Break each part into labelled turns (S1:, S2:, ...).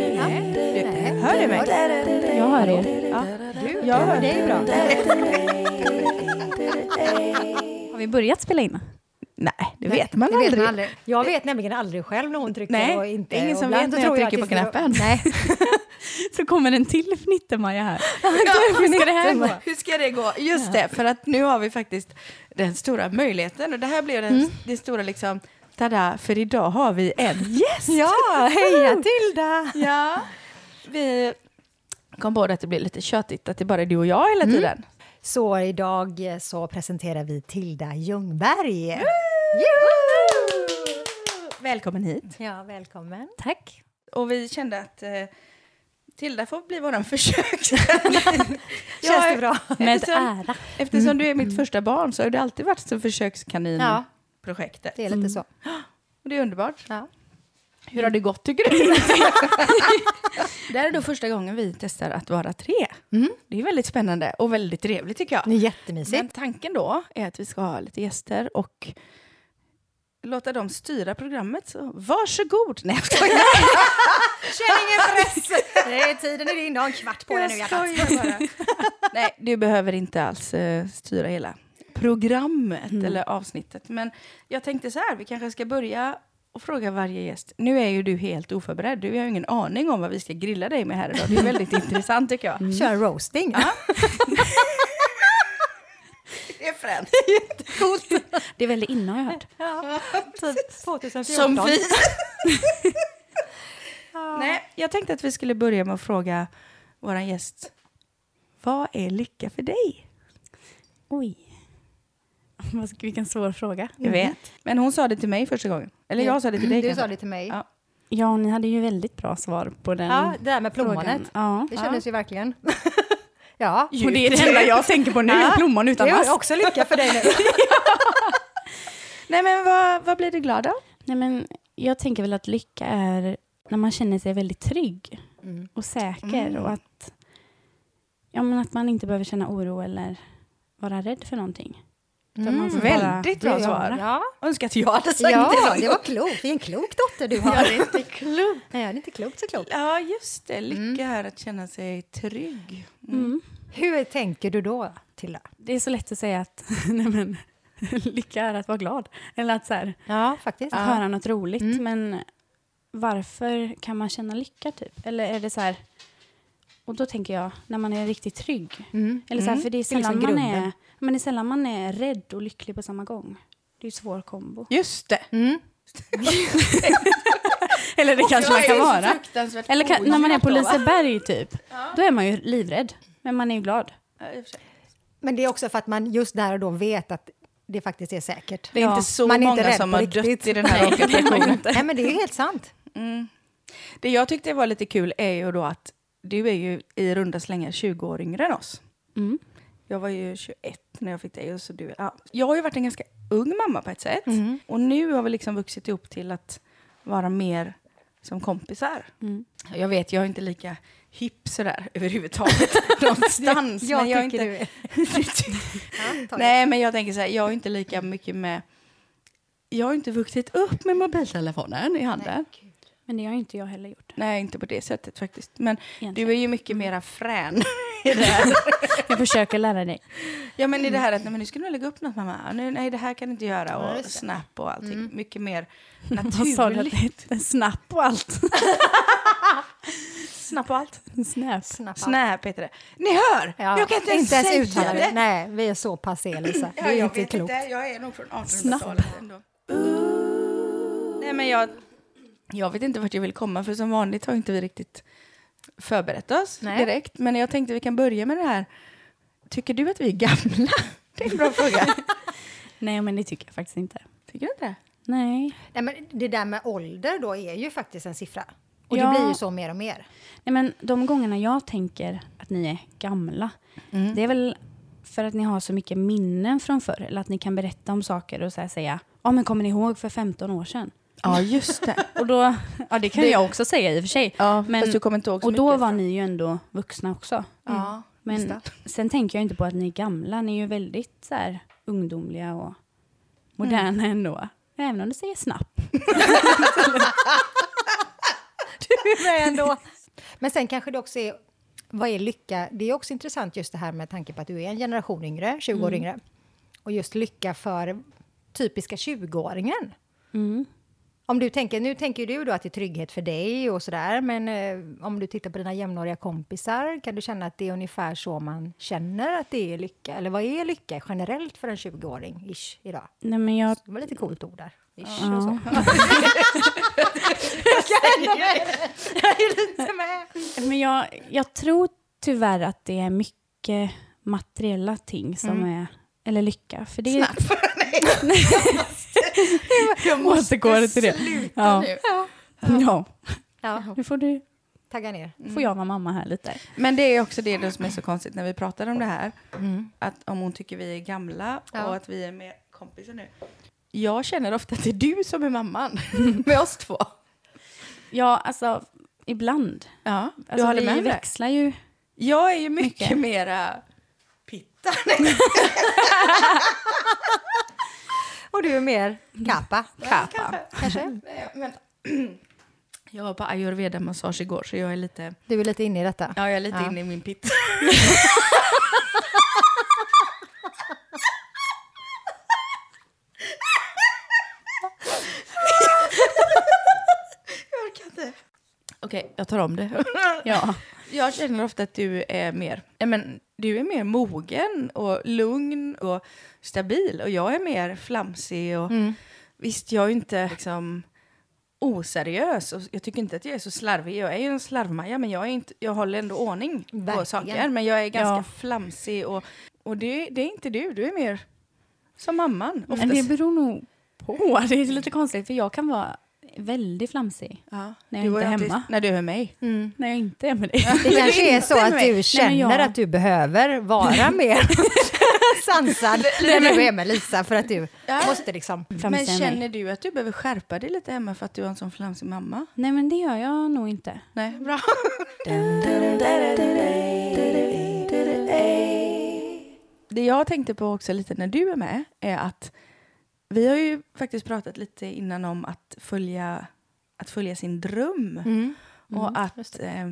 S1: Hör du mig?
S2: Jag hör er.
S1: Ja.
S2: Jag hör dig bra.
S3: Har vi börjat spela in?
S1: Nej, det vet man
S2: det vet
S1: aldrig.
S2: man aldrig. Jag vet nämligen aldrig själv när hon trycker
S1: Nej,
S2: och inte.
S1: det är ingen
S2: och
S1: som
S2: ibland
S1: vet
S2: så
S1: när jag
S2: tror
S1: trycker
S2: att
S1: på
S2: det står- Nej,
S3: Så kommer en till fnittermaja här. Hur ska det här gå?
S1: Hur ska det gå? Just det, för att nu har vi faktiskt den stora möjligheten. Och det här blev den,
S3: Mm.
S1: det stora liksom, tada, för idag har vi en gäst.
S2: Ja, heja Tilda!
S1: ja. Vi kom på det att det blir lite tjötigt att det bara är du och jag hela tiden.
S2: Så idag eh, så presenterar vi Tilda Ljungberg.
S1: Välkommen hit.
S2: Ja, välkommen.
S3: Tack.
S1: Och vi kände att eh, Tilda får bli våran försök.
S2: Känns det bra?
S3: Med
S1: Eftersom-
S3: ära.
S1: Eftersom du är mitt första barn så har du alltid varit som försökskanin.
S2: Ja.
S1: projektet.
S2: Det är lite
S3: Mm.
S2: så.
S1: Och det är underbart.
S2: Ja.
S1: Hur har det gått tycker du? det här är då första gången vi testar att vara tre. Det är väldigt spännande och väldigt trevligt tycker jag.
S2: Det är jättemysigt.
S1: Men tanken då är att vi ska ha lite gäster och låta dem styra programmet. Så varsågod! Nej, jag skojar.
S2: Känn ingen press! Det är tiden är din, du har en kvart på dig nu. hjärtat.
S1: bara. Nej, du behöver inte alls eh, styra hela programmet eller avsnittet. Men jag tänkte så här, vi kanske ska börja och fråga varje gäst. Nu är ju du helt oförberedd. Du har ju ingen aning om vad vi ska grilla dig med här idag. Det är väldigt intressant tycker jag.
S2: Kör roasting. Ja.
S1: Det är fränt.
S3: Det är väldigt innan jag hört.
S2: Typ 2014.
S1: Som vi. Nej, jag tänkte att vi skulle börja med att fråga vår gäst. Vad är lycka för dig?
S3: Oj. Vad ska- Vilken svår fråga. Mm.
S1: Jag vet. Mm. Men hon sa det till mig första gången. Eller jag sa det till dig
S2: Du
S1: kanske.
S2: sa det till mig.
S1: Ja.
S3: Ja, ni hade ju väldigt bra svar på den
S2: Ja, det där med
S3: frågan.
S2: plommonet.
S3: Ja.
S2: Det kändes ju verkligen. ja.
S3: Och det är det enda jag tänker på nu,
S2: Ja.
S3: plommon
S2: Det
S3: utan
S2: är ju
S3: mask.
S2: också lycka för dig nu.
S1: Nej men vad, vad blir du glad av?
S3: Nej, men jag tänker väl att lycka är när man känner sig väldigt trygg
S1: Mm.
S3: och säker och att, ja, men att man inte behöver känna oro eller vara rädd för någonting. Utan man får bara-
S1: Mm. Väldigt bra svar.
S2: Ja,
S1: Önskar att jag hade sagt
S2: ja
S1: det.
S2: det var klokt. Vilken klok dotter du har.
S1: är inte klokt.
S2: Nej, jag är inte klokt så klokt.
S1: Ja, just det. Lycka är att känna sig trygg.
S3: Mm.
S2: Hur tänker du då, Tilda?
S3: Det är så lätt att säga att nej men, lycka är att vara glad. Eller att, så här,
S2: Ja, faktiskt.
S3: att höra något roligt.
S1: Mm.
S3: Men varför kan man känna lycka? typ? Eller är det så här... Och då tänker jag, när man är riktigt trygg.
S2: Mm.
S3: Eller så här, för Mm, det är,
S2: Det är
S3: sällan
S2: liksom
S3: man är,
S2: grunden.
S3: men det är sällan man är rädd och lycklig på samma gång. Det är ju svår kombo.
S1: Just det.
S3: Eller det kanske man kan vara.
S1: fruktansvärt
S3: Eller kan, när man är på
S1: otryggt då, va?
S3: Liseberg typ, då är man ju livrädd. Men man är ju glad.
S1: Ja, i och för sig.
S2: Men det är också för att man just där och då vet att det faktiskt är säkert.
S1: Det är inte så
S2: man är inte
S1: många
S2: rädd
S1: som
S2: på
S1: har
S2: riktigt.
S1: dött i den här organisationen.
S2: Nej, men det är ju helt sant.
S1: Mm. Det jag tyckte var lite kul är ju då att du är ju i runda slängar 20 år yngre än oss.
S3: Mm.
S1: Jag var ju 21 när jag fick dig. Och så du, ja. Jag har ju varit en ganska ung mamma på ett sätt. Och nu har vi liksom vuxit ihop till att vara mer som kompisar.
S3: Mm.
S1: Jag vet, jag är inte lika hipp sådär överhuvudtaget någonstans.
S2: Jag
S1: men jag är
S2: tycker
S1: inte, du
S2: Ja, ta det.
S1: Nej, men jag tänker så här, jag är inte lika mycket med... Jag har inte vuxit upp med mobiltelefonen i handen. Nej,
S3: Men det har ju inte jag heller gjort.
S1: inte på det sättet faktiskt. Men
S3: Egentligen.
S1: du är ju mycket mera frän i det här.
S3: Jag försöker lära dig.
S1: Ja, men i det här att nej, men nu ska du lägga upp något mamma. Ja, Nu, nej, det här kan du inte göra. Och snap och allting. Mycket mer
S3: Vad sa du?
S1: naturligt.
S3: att det är? Snapp och allt.
S1: Snap och allt.
S3: Snap.
S2: Snabbt.
S1: Snap heter det. Ni hör!
S2: Ja,
S1: jag kan inte, ens säga
S2: uttala
S1: det.
S2: det. Nej, vi är så passé, Lisa. Det
S1: Ja,
S2: är
S1: jag
S2: inte
S1: vet
S2: klokt.
S1: inte. Jag är nog från 1800-talet ändå. Nej, men jag, jag vet inte vart jag vill komma, för som vanligt har inte vi riktigt förberett oss
S2: Nej.
S1: direkt. Men jag tänkte vi kan börja med det här. Tycker du att vi är gamla? Det är en bra fråga.
S3: Nej, men det tycker jag faktiskt inte.
S1: Tycker du inte det?
S3: Nej.
S2: Nej, men det där med ålder då är ju faktiskt en siffra. Och
S3: Ja.
S2: det blir ju så mer och mer.
S3: Nej, men de gångerna jag tänker att ni är gamla,
S1: Mm.
S3: det är väl för att ni har så mycket minnen från förr, eller att ni kan berätta om saker och så här säga, ja men kommer ni ihåg för 15 år sedan?
S1: Ja, just det.
S3: Och då, ja det kan jag också säga i och för sig.
S1: Ja, fast du kommer inte ihåg så
S3: Och då
S1: mycket.
S3: var ni ju ändå vuxna också.
S1: Ja,
S3: Men sen tänker jag inte
S1: Mm.
S3: på att ni är gamla, ni är ju väldigt så här ungdomliga och moderna ändå. Även om det säger snabbt.
S2: Du är med ändå. Men sen kanske det också är, vad är lycka? Det är också intressant just det här med tanke på att du är en generation yngre, 20 år yngre. Och just lycka för typiska 20-åringen.
S3: Mm.
S2: Om du tänker, nu tänker du då att det är trygghet för dig och sådär, men eh, om du tittar på dina jämnåriga kompisar, kan du känna att det är ungefär så man känner att det är lycka? Eller vad är lycka generellt för en 20-åring, ish, idag?
S3: Nej, men jag...
S2: Det var lite coolt ord där. Ish och så.
S3: Ja.
S2: Jag är lite med.
S3: Men jag, jag tror tyvärr att det är mycket materiella ting som
S1: Mm.
S3: är... Eller lycka. För det är
S1: Snabbt. Jag måste
S3: återgår till det.
S1: sluta
S3: Ja.
S1: nu.
S3: Ja,
S2: Ja,
S3: nu får, du,
S2: tagga ner.
S1: Mm.
S3: får jag vara mamma här lite.
S1: Men det är också det som är så konstigt när vi pratar om det här. Att om hon tycker vi är gamla
S2: Ja.
S1: och att vi är mer kompisar nu. Jag känner ofta att det är du som är mamman med oss två.
S3: Ja, alltså ibland.
S1: Ja, du
S3: Alltså,
S1: håller
S3: vi
S1: med om det?
S3: växlar ju.
S1: Jag är ju mycket,
S3: Mycket.
S1: mera... Pitta.
S2: Och du är mer kappa,
S1: Kappa.
S2: kanske?
S1: Men, jag var på ayurveda-massage igår så jag är lite,
S2: Du är lite inne i detta.
S1: ja, jag är lite
S2: Ja.
S1: inne i min pitta. jag orkar inte. Okej, jag tar om det.
S3: Ja.
S1: Jag känner ofta att du är mer, ja, men, du är mer mogen och lugn och stabil och jag är mer flamsig och
S3: Mm.
S1: visst jag är ju inte liksom oseriös och jag tycker inte att jag är så slarvig. Jag är ju en slarvmaja men jag, är inte, jag håller ändå ordning på
S2: Verkligen.
S1: saker. Men jag är ganska
S3: Ja.
S1: flamsig och, och det, det är inte du, du är mer som mamman.
S3: Men
S1: oftast.
S3: det beror nog på. Det är lite konstigt för jag kan vara väldigt flamsig
S1: ja,
S3: när jag inte är
S1: är alltid-
S3: hemma.
S1: När du är med mig.
S3: när jag inte är med dig.
S2: Mm. Det kanske är så
S3: Inte
S2: att
S3: med-
S2: du känner
S3: Nej, men jag-
S2: att du behöver vara mer sansad när du är med Lisa för att du
S1: Ja.
S2: måste liksom...
S3: Flamsig
S1: Men
S3: är mig.
S1: känner du att du behöver skärpa dig lite hemma för att du har en sån flamsig mamma?
S3: Nej, men det gör jag nog inte.
S1: Nej, bra. Det jag tänkte på också lite när du är med är att vi har ju faktiskt pratat lite innan om att följa, att följa sin dröm.
S2: Mm.
S1: och att eh,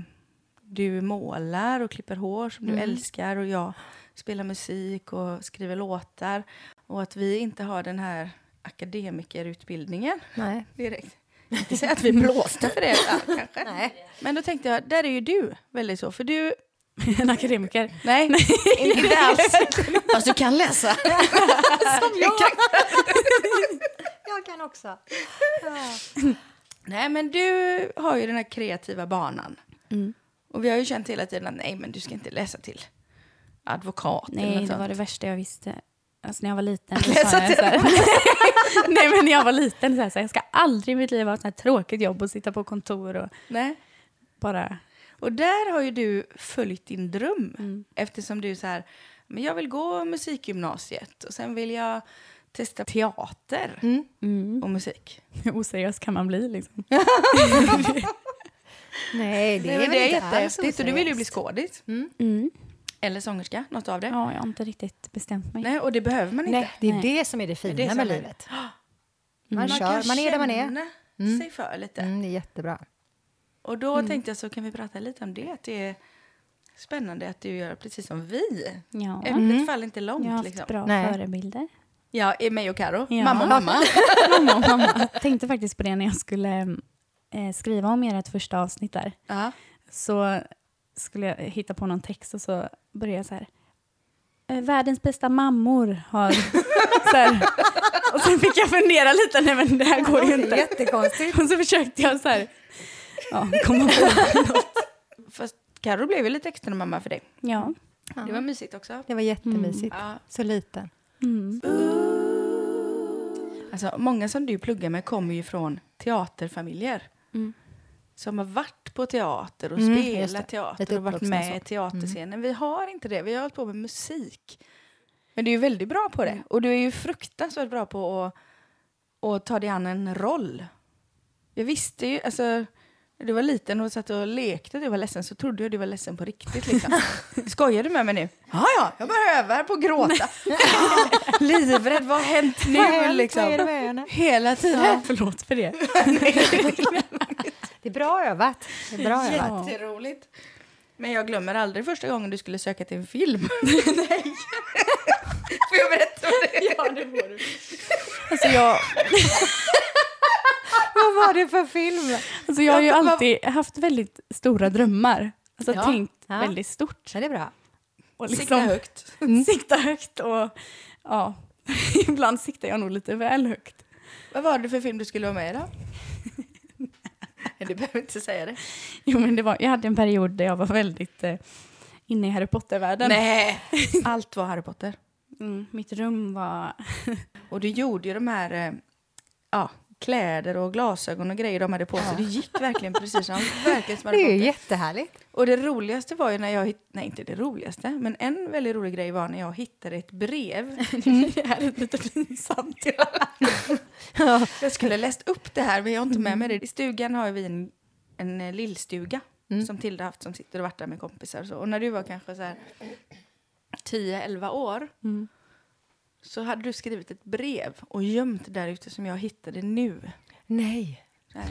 S1: du målar och klipper hår som du älskar och jag spelar musik och skriver låtar. Och att vi inte har den här akademikerutbildningen
S2: Nej.
S1: direkt. Inte säga att vi blåste för det, ja, kanske.
S2: Nej.
S1: Men då tänkte jag, där är ju du väldigt så, för du...
S3: en akademiker.
S1: Nej, inte alls. Fast du kan läsa.
S2: Som jag. jag kan också.
S1: Nej, men du har ju den här kreativa banan. Mm. Och vi har ju känt hela tiden att nej, men du ska inte läsa till advokat eller
S3: Nej,
S1: något
S3: det var
S1: sånt.
S3: det värsta jag visste. Alltså när jag var liten. så
S1: läsa
S3: sa jag så här, Nej, men när jag var liten så här, så här, jag ska aldrig i mitt liv ha ett sånt här tråkigt jobb och sitta på kontor och
S1: Nej.
S3: bara...
S1: Och där har ju du följt din dröm. Eftersom du är så här, men jag vill gå musikgymnasiet och sen vill jag testa teater
S3: Mm.
S1: och musik.
S3: Hur oseriös kan man bli liksom?
S2: Nej, det
S1: Nej,
S2: är
S1: men
S2: väl
S1: det är
S2: inte alls
S1: jättehäftigt och du vill ju bli
S2: oseriöst.
S1: skådis.
S3: Mm.
S1: Eller sångerska, något av det.
S3: Ja, jag har inte riktigt bestämt mig.
S1: Nej, och det behöver man inte.
S2: Nej, det är
S3: Nej.
S2: det som är det
S1: är
S2: fina
S1: det som
S2: med
S1: är-
S2: livet. Man kör, man är där man är.
S1: känna sig för lite.
S2: Mm, det är jättebra.
S1: Och då tänkte jag så kan vi prata lite om det. Att det är spännande att du gör precis som vi.
S3: Ja.
S1: Äpplet
S2: Mm.
S1: faller inte
S3: Jag
S1: långt.
S3: har haft
S1: liksom.
S3: bra
S2: Nej.
S3: förebilder.
S1: Ja, är mig och Karo.
S3: Ja.
S1: Mamma och mamma.
S3: mamma och mamma. Jag tänkte faktiskt på det när jag skulle eh, skriva om ert första avsnitt där.
S1: ja.
S3: Så skulle jag hitta på någon text och så började jag så här. "Eh, Världens bästa mammor har... så här. Och sen fick jag fundera lite, nej men det här går ju
S2: Det är
S3: inte.
S2: jättekonstigt.
S3: Och så försökte jag så här, ja, komma på.
S1: Fast Karo blev ju lite extra mamma för dig.
S3: Ja.
S1: Det var mysigt också.
S2: Det var jättemysigt.
S1: Ja.
S2: Så liten.
S3: Mm.
S1: Alltså, många som du pluggar med kommer ju från teaterfamiljer.
S3: Mm.
S1: Som har varit på teater och
S2: Mm, just det.
S1: spelat
S2: Lite
S1: teater och varit
S2: uppvuxna
S1: med
S2: så. Mm.
S1: i teaterscenen. Vi har inte det. Vi har hållit på med musik. Men du är ju väldigt bra på
S2: Mm.
S1: det. Och du är ju fruktansvärt bra på att, att ta dig an en roll. Jag visste ju, alltså, När du var liten och satt och lekte och du var ledsen så trodde jag du var ledsen på riktigt. Liksom. Skojar du med mig nu? Ja, ja, jag behöver på att gråta. Livrädd, vad har hänt nu?
S2: Vad har hänt?
S1: liksom?
S2: Vad är det med henne?
S1: Hela tiden.
S3: Förlåt för det.
S2: Det är bra övat. Det är bra övat.
S1: Jätteroligt. Men jag glömmer aldrig första gången du skulle söka till en film. Nej. Får jag berätta om det?
S3: Alltså jag,
S2: Vad var det för film?
S3: alltså jag har ju
S1: Jag bara-
S3: alltid haft väldigt stora drömmar. Alltså
S1: Ja.
S3: tänkt
S2: Ja.
S3: väldigt stort.
S2: Ja, det är bra.
S3: Och liksom
S1: Sikta högt.
S3: Sikta högt och ja, ibland siktar jag nog lite väl högt.
S1: Vad var det för film du skulle vara med i då? Nej, Du behöver inte säga det.
S3: Jo, men det var, jag hade en period där jag var väldigt eh, inne i Harry Potter-världen.
S1: Nej! Allt var Harry Potter.
S3: Mm, mitt rum var...
S1: Och du gjorde ju de här eh, ja, kläder och glasögon och grejer de hade på sig. Det gick verkligen precis som verkligen som
S2: Det är
S1: Harry
S2: ju
S1: Potter.
S2: jättehärligt.
S1: Och det roligaste var ju när jag hitt- nej inte det roligaste, men en väldigt rolig grej var när jag hittade ett brev.
S3: det här är lite pinsamt.
S1: Jag skulle ha läst upp det här men jag har inte med mig det. I stugan har vi en, en eh, lillstuga
S3: Mm.
S2: Mm.
S1: som Tilda haft som sitter och varit där med kompisar och så. Och när du var kanske så här 10-11 år
S3: Mm.
S1: så hade du skrivit ett brev och gömt där ute som jag hittade nu.
S2: Nej.
S1: Så här.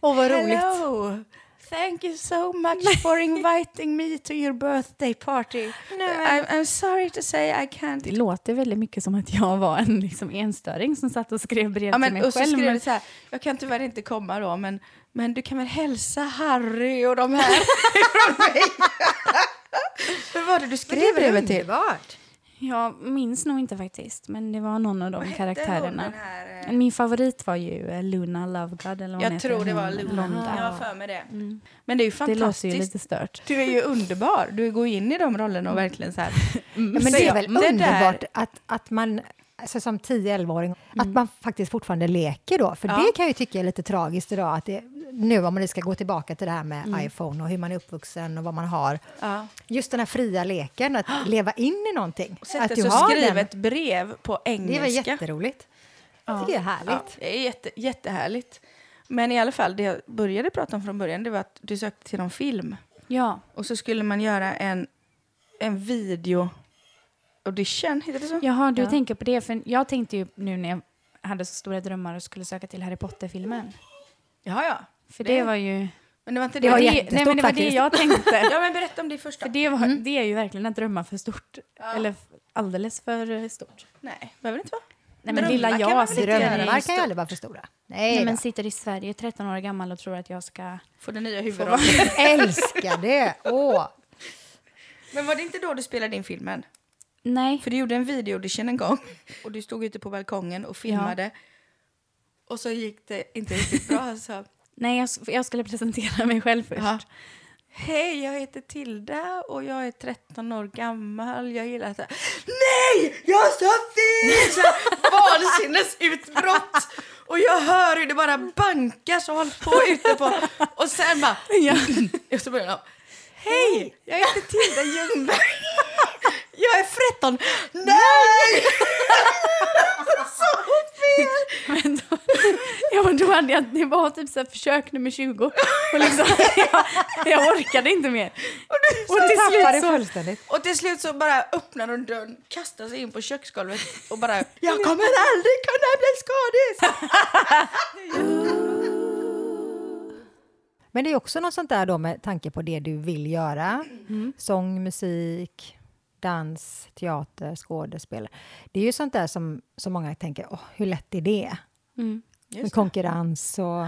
S2: Åh, vad roligt.
S1: Hello! Thank you so much for inviting me to your birthday party. I'm, I'm sorry to say I
S3: Det
S1: can't...
S3: låter väldigt mycket som att jag var en liksom, enstöring som satt och skrev brev
S1: Ja,
S3: till
S1: men,
S3: mig
S1: och så
S3: själv.
S1: skrev
S3: Men,
S1: det så här, jag kan tyvärr inte komma då, men, men du kan väl hälsa Harry och de här från mig. Vem var det du
S2: Men det
S1: skrev
S2: är väl
S1: brevet till?
S2: underbart?
S3: jag minns nog inte faktiskt, men det var någon av de
S1: Vad hette hon,
S3: karaktärerna.
S1: den här, eh,
S3: Min favorit var ju eh, Luna Lovegood. Eller vad hon
S1: Jag
S3: heter.
S1: tror det var
S3: Hon-
S1: Lunda. Jag har för mig det. Men det är ju
S3: Det låter
S1: fantastiskt.
S3: ju lite stört.
S1: Du är ju underbar. Du går in i de rollerna och verkligen så här...
S2: Ja, men det
S1: säger
S2: är väl
S1: jag, det där-
S2: underbart att, att man alltså som 10-11-åring, att man faktiskt fortfarande leker då. För
S1: Ja.
S2: det kan jag ju tycka är lite tragiskt idag, att det, nu om man nu ska gå tillbaka till det här med iPhone och hur man är uppvuxen och vad man har.
S1: Ja.
S2: Just den här fria leken, att leva in i någonting.
S1: Sätta
S2: att du
S1: sig och
S2: har
S1: skriva
S2: den,
S1: ett brev på engelska.
S2: det är väl jätteroligt. Det tycker jag är härligt.
S1: Ja, det är jätte, jättehärligt. Men i alla fall, det jag började prata om från början det var att du sökte till någon film.
S3: Ja,
S1: Och så skulle man göra en, en video audition, heter det så?
S3: Jaha, du tänker på det. För jag tänkte ju nu när jag hade så stora drömmar och skulle söka till Harry Potter-filmen.
S1: Ja, ja.
S3: För det, var ju...
S1: Men det var inte det.
S2: Det var
S1: det
S2: jättestort
S3: nej, men det var det
S2: faktiskt.
S3: jag tänkte.
S1: ja, men berätta om det första.
S3: för det, var, det är ju verkligen att drömma för stort. Eller f- alldeles för eh, stort.
S1: Nej, behöver det inte vara.
S3: Nej, men
S1: Drömmar
S3: lilla
S1: kan man väl
S3: jag sitter,
S1: göra?
S2: Drömmar
S3: i,
S2: kan ju aldrig vara för stora. Nej,
S3: nej, men
S2: då.
S3: sitter i Sverige 13 år gammal och tror att jag ska...
S1: Få den nya huvudrollen.
S2: älskar det! Åh.
S1: Men var det inte då du spelade in filmen?
S3: Nej,
S1: För du gjorde en videoaudition en gång. Och du stod ute på balkongen och filmade. Och så gick det inte riktigt bra. Så.
S3: nej jag, s- jag skulle presentera mig själv först.
S1: Ja. Hej, jag heter Tilda och jag är 13 år gammal. Jag gillar att... Nej! Jag sa fel! Så här, Vansinnesutbrott! Och jag hör hur det bara bankar så håll på ute på... Och sen bara... Och så börjar de... Hej! Jag heter Tilda Ljungberg. Jag är 13. Nej!
S3: Men då, ja, men då hade jag, det var typ så här försök nummer 20. Och liksom, jag, jag orkade inte mer.
S2: Och
S3: till
S2: till
S3: slut
S2: slut
S3: så-
S2: fullständigt.
S1: Och till slut så bara öppnar hon dörren, kastar sig in på köksgolvet och bara Jag kommer aldrig kunna bli skådis!
S2: Men det är också något sånt där då med tanke på det du vill göra.
S1: Mm.
S2: Sång, musik, dans, teater, skådespel. Det är ju sånt där som, som många tänker, Åh, hur lätt är det?
S3: Mm.
S1: Just Mm.
S2: Med konkurrens och